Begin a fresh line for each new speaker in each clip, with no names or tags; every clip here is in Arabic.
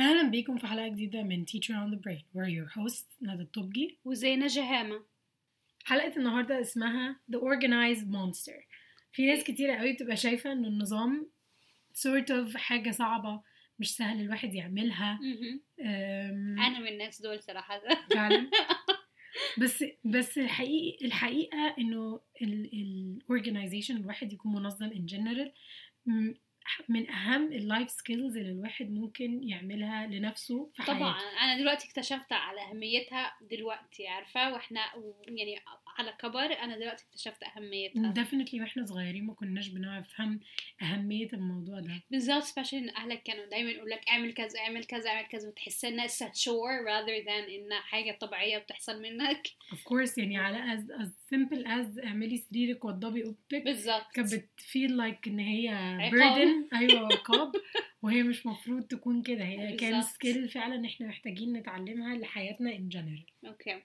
أهلا بيكم في حلقة جديدة من Teacher on the Brain We're your hosts ندى الطبجي
وزينة جهامة
حلقة النهاردة اسمها The Organized Monster في ناس كتير قوي بتبقى شايفة إن النظام sort of حاجة صعبة مش سهل الواحد يعملها أم،
أنا من الناس دول صراحة
فعلا بس بس الحقيقة الحقيقة إنه الأورجنايزيشن الواحد يكون منظم in general م- من أهم اللايف سكيلز اللي الواحد ممكن يعملها لنفسه في حياته
طبعا أنا دلوقتي اكتشفت على أهميتها دلوقتي عارفة وإحنا و- يعني على كبر أنا دلوقتي اكتشفت أهميتها
ديفنتلي واحنا صغيرين ما كناش بنفهم اهميه الموضوع ده
بالذات سبيشال إن أهلك كانوا دايما يقول لك اعمل كذا اعمل كذا اعمل كذا وتحس إنها it's a chore rather than إنها حاجة طبيعية بتحصل منك
اوف كورس يعني على از از سمبل از اعملي سريرك وضبي اوضتك
بالذبط
كانت بتفيل لايك ان هي
عقاب.
بيردن ايوه عقاب وهي مش مفروض تكون كده هي كان
بالظبط.
سكيل فعلا احنا محتاجين نتعلمها لحياتنا ان جنرال
أوكي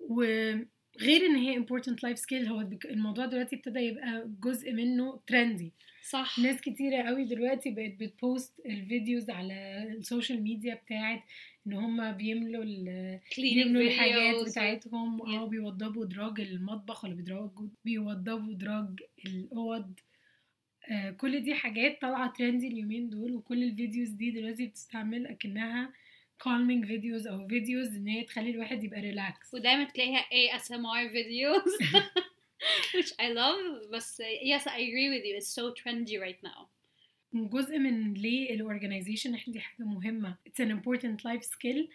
وغير ان هي important life skill هو بك- الموضوع دلوقتي ابتدى يبقى جزء منه ترندي
صح
ناس كتيرة قوي دلوقتي بقت بتبوست الفيديوز على السوشيال ميديا بتاعت ان هم بيملوا ال- بيملوا الحاجات بتاعتهم او بيوضبوا دراج المطبخ ولا بيدراج- بيوضبوا دراج الاوض آه، كل دي حاجات طالعه ترندي اليومين دول وكل الفيديوز دي دلوقتي بتستعمل اكنها calming فيديوز او فيديوز ان هي تخلي الواحد يبقى ريلاكس
ودايما تلاقيها ASMR videos which I love بس yes I agree with you it's so trendy right now
جزء من ليه الاورجنايزيشن احنا دي حاجه مهمه اتس ان امبورتنت لايف سكيل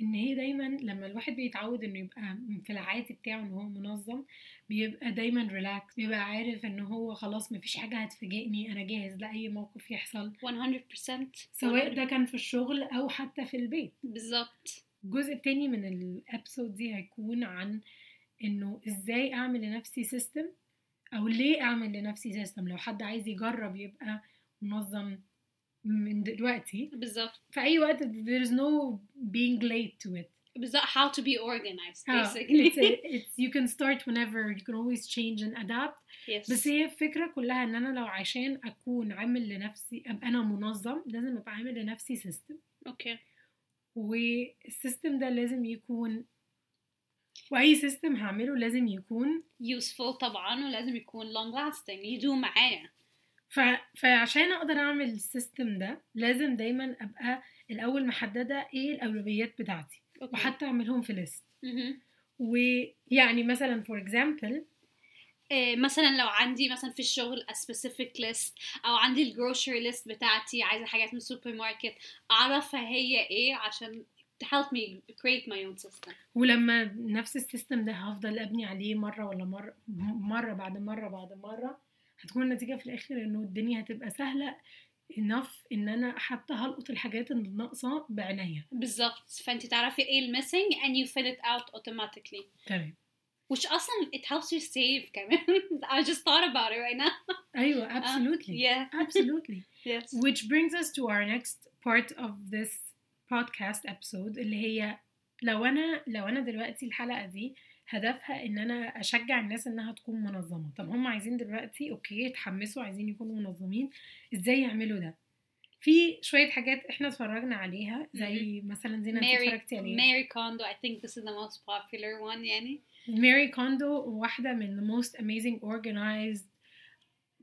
ان هي دايما لما الواحد بيتعود انه يبقى في العادي بتاعه ان هو منظم بيبقى دايما ريلاكس بيبقى عارف ان هو خلاص مفيش حاجه هتفاجئني انا جاهز لاي موقف يحصل
100%
سواء ده كان في الشغل او حتى في البيت
بالظبط
الجزء التاني من الابسود دي هيكون عن انه ازاي اعمل لنفسي سيستم او ليه اعمل لنفسي سيستم لو حد عايز يجرب يبقى منظم من دلوقتي
بالظبط
في اي وقت there is no being late to it
بالظبط how to be organized
آه، it's
basically
a- it's- you can start whenever you can always change and adapt
yes
بس هي الفكرة كلها ان انا لو عشان اكون عامل لنفسي ابقى انا منظم لازم ابقى عامل لنفسي سيستم
اوكي
والسيستم ده لازم يكون واي سيستم هعمله لازم يكون
useful طبعا ولازم يكون long lasting يدوم معايا
ف... فعشان اقدر اعمل السيستم ده لازم دايما ابقى الاول محدده ايه الاولويات بتاعتي
اوكي
وحتى اعملهم في ليست
مهم.
ويعني مثلا فور اكزامبل
إيه، مثلا لو عندي مثلا في الشغل a specific list او عندي الجروسري list بتاعتي عايزه حاجات من السوبر ماركت اعرف هي ايه عشان to help me create my own system
ولما نفس السيستم ده هفضل ابني عليه مره ولا مره مره بعد مره بعد مره هتكون النتيجه في الاخر انه الدنيا هتبقى سهله enough ان انا حتى هلقط الحاجات الناقصه بعناية
بالظبط فانت تعرفي ايه الميسنج and you fill it out automatically
تمام
which اصلا it helps you save كمان I just thought about it right now
ايوه
آه،
absolutely
yeah
Absolutely.
yes
Which brings us to our next part of this podcast episode اللي هي لو انا لو انا دلوقتي الحلقه دي هدفها ان انا اشجع الناس انها تكون منظمه، طب هم عايزين دلوقتي اوكي يتحمسوا عايزين يكونوا منظمين، ازاي يعملوا ده؟ في شويه حاجات احنا اتفرجنا عليها زي مثلا زينه انت
Mary
اتفرجتي عليها
Mary Kondo I think this is the most popular one يعني
ماري كوندو واحده من the most amazing organized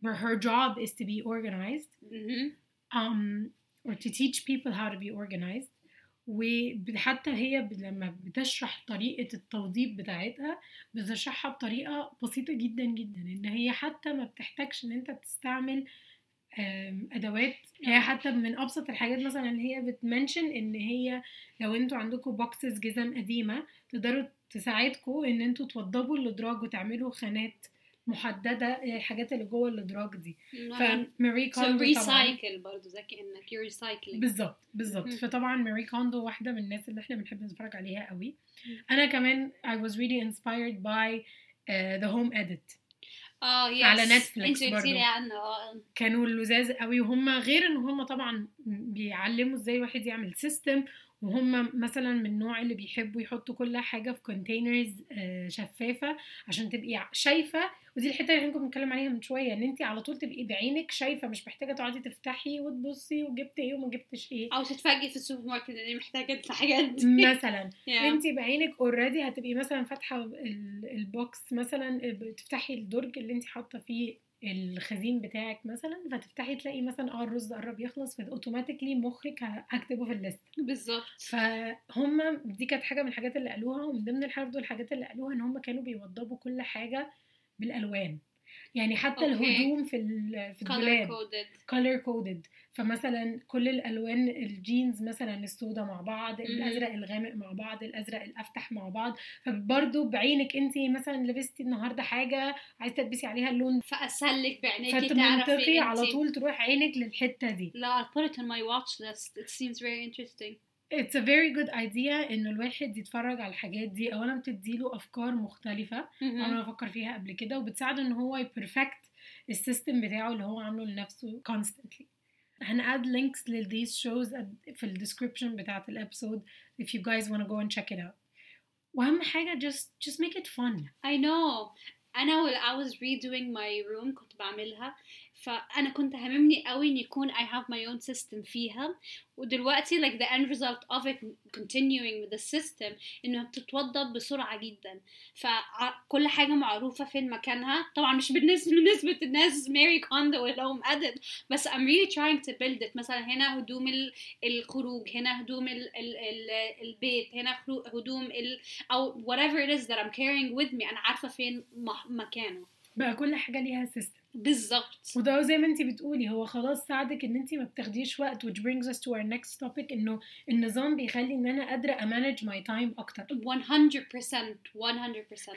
where her job is to be organized
مهم.
um, or to teach people how to be organized وحتى هي ب- لما بتشرح طريقة التوظيف بتاعتها بتشرحها بطريقة بسيطة جدا جدا إن هي حتى ما بتحتاجش إن أنت تستعمل آم، أدوات هي حتى من أبسط الحاجات مثلا إن هي بتمنشن إن هي لو أنتوا عندكم بوكسز جزم قديمة تقدروا تساعدكم إن أنتوا توضبوا الأدراج وتعملوا خانات محددة للحاجات اللي جوه الأدراج دي فماري
نعم. so
كوندو طبعا
recycle برضه زي كأنك you're recycling
بالظبط بالظبط
مهم.
فطبعا ماري كوندو واحده من الناس اللي احنا بنحب نتفرج عليها قوي انا كمان I was really inspired by uh, the home edit
اه Oh, yes
على Netflix
انت قلتي
برضه.
لي عنه آه.
كانوا اللزاز قوي وهم غير ان هم طبعا بيعلموا ازاي الواحد يعمل سيستم وهم مثلا من النوع اللي بيحبوا يحطوا كل حاجه في كونتينرز شفافه عشان تبقي ع- شايفه ودي الحته اللي احنا كنا بنتكلم عليها من شويه ان انت على طول تبقي بعينك شايفه مش محتاجه تقعدي تفتحي وتبصي وجبت ايه وما جبتش ايه
او تتفاجئي في السوبر ماركت اني محتاجه الحاجات دي
Mm. مثلا
Yeah.
انت بعينك اوريدي هتبقي مثلا فاتحه ال- البوكس مثلا بتفتحي الدرج اللي انت حاطه فيه الخزين بتاعك مثلا فتفتحي تلاقي مثلا اه الرز قرب يخلص فاوتوماتيكلي مخك ه- هكتبه في الليست
بالظبط
فهم دي كانت حاجه من الحاجات اللي قالوها ومن ضمن الحاجات الحاجات اللي قالوها ان هم كانوا بيوضبوا كل حاجه بالالوان يعني حتى
Okay.
الهدوم في ال- في
color
الدولاب
coded
color coded فمثلا كل الالوان الجينز مثلا السوداء مع بعض الازرق الغامق مع بعض الازرق الافتح مع بعض فبرضه بعينك انت مثلا لبستي النهارده حاجه عايزه تلبسي عليها اللون
فاسلك بعينيكي تعرفي
فمنطقي على
انتي.
طول تروح عينك للحته دي
لا I'll put it on my watch list it seems very interesting
It's a very good idea إنه الواحد يتفرج على الحاجات دي أولا بتديله أفكار مختلفة
Mm-hmm.
أنا ما فكر فيها قبل كده وبتساعده إن هو يبرفكت السيستم بتاعه اللي هو عامله لنفسه constantly هنقعد links للديز شوز في ال description بتاعة الابسود if you guys wanna go and check it out وأهم حاجة just just make it fun
I know أنا when I was redoing my room كنت بعملها فأنا كنت هممني قوي إن يكون I have my own system فيها ودلوقتي like the end result of it continuing with the system إنها بتتوضب بسرعة جدا فكل حاجة معروفة فين مكانها طبعا مش بالنسبة بالنسبة الناس ماري كوندو اللي هم أدد بس I'm really trying to build it مثلا هنا هدوم ال- الخروج هنا هدوم ال ال ال البيت هنا خرو- هدوم ال او whatever it is that I'm carrying with me انا عارفه فين مح- مكانه
بقى كل حاجة ليها سيستم
بالظبط
وده زي ما انت بتقولي هو خلاص ساعدك ان انت ما بتاخديش وقت which brings us to our next topic انه النظام بيخلي ان انا قادره امانج ماي تايم اكتر
100% 100%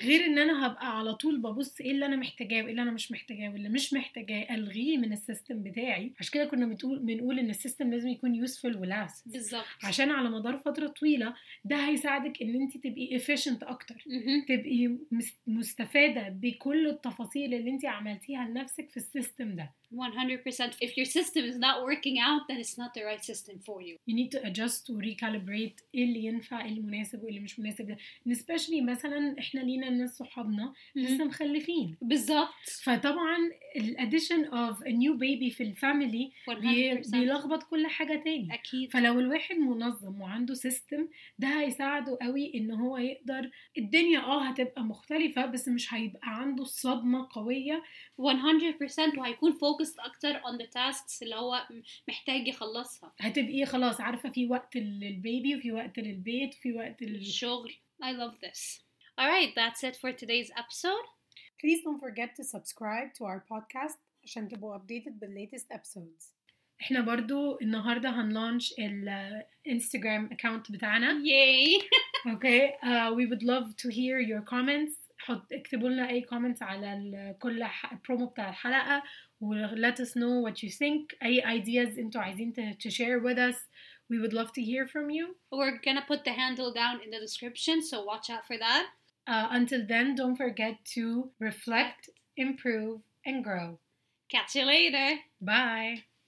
غير ان انا هبقى على طول ببص ايه اللي انا محتاجاه وايه اللي انا مش محتاجاه واللي مش محتاجاه الغيه من السيستم بتاعي عشان كده كنا بتقول بنقول ان السيستم لازم يكون يوسفل ولاست
بالظبط
عشان على مدار فتره طويله ده هيساعدك ان انت تبقي efficient اكتر
مهم.
تبقي مس- مستفاده بكل التفاصيل اللي انت عملتيها لنفسك في السيستم ده
100% if your system is not working out then it's not the right system for you
you need to adjust و recalibrate ايه اللي ينفع ايه المناسب وايه اللي مش مناسب ده especially مثلا احنا لينا ناس صحابنا لسه مخلفين
بالظبط
فطبعا ال addition of a new baby في الفاميلي
100%
بيلخبط كل حاجة تاني
اكيد
فلو الواحد منظم وعنده سيستم ده هيساعده قوي ان هو يقدر الدنيا اه هتبقى مختلفة بس مش هيبقى عنده صدمة قوية
100% وهيكون focused اكتر on the tasks اللي هو محتاج يخلصها
هتبقي إيه، خلاص عارفة في وقت للبيبي وفي وقت للبيت وفي وقت لل...
الشغل I love this alright that's it for today's episode
Please don't forget to subscribe to our podcast عشان تبقوا updated بالlatest episodes. احنا برضو النهارده هنلانش الانستجرام account بتاعنا
yay
اوكي uh, we would love to hear your comments حط اكتبوا لنا اي comments على ال- كل ح- البرومو بتاع الحلقه و let us know what you think اي ideas انتوا عايزين ت- to share with us we would love to hear from you
We're gonna put the handle down in the description, so watch out for that.
uh, until then don't forget to reflect improve and grow
Catch you later.
bye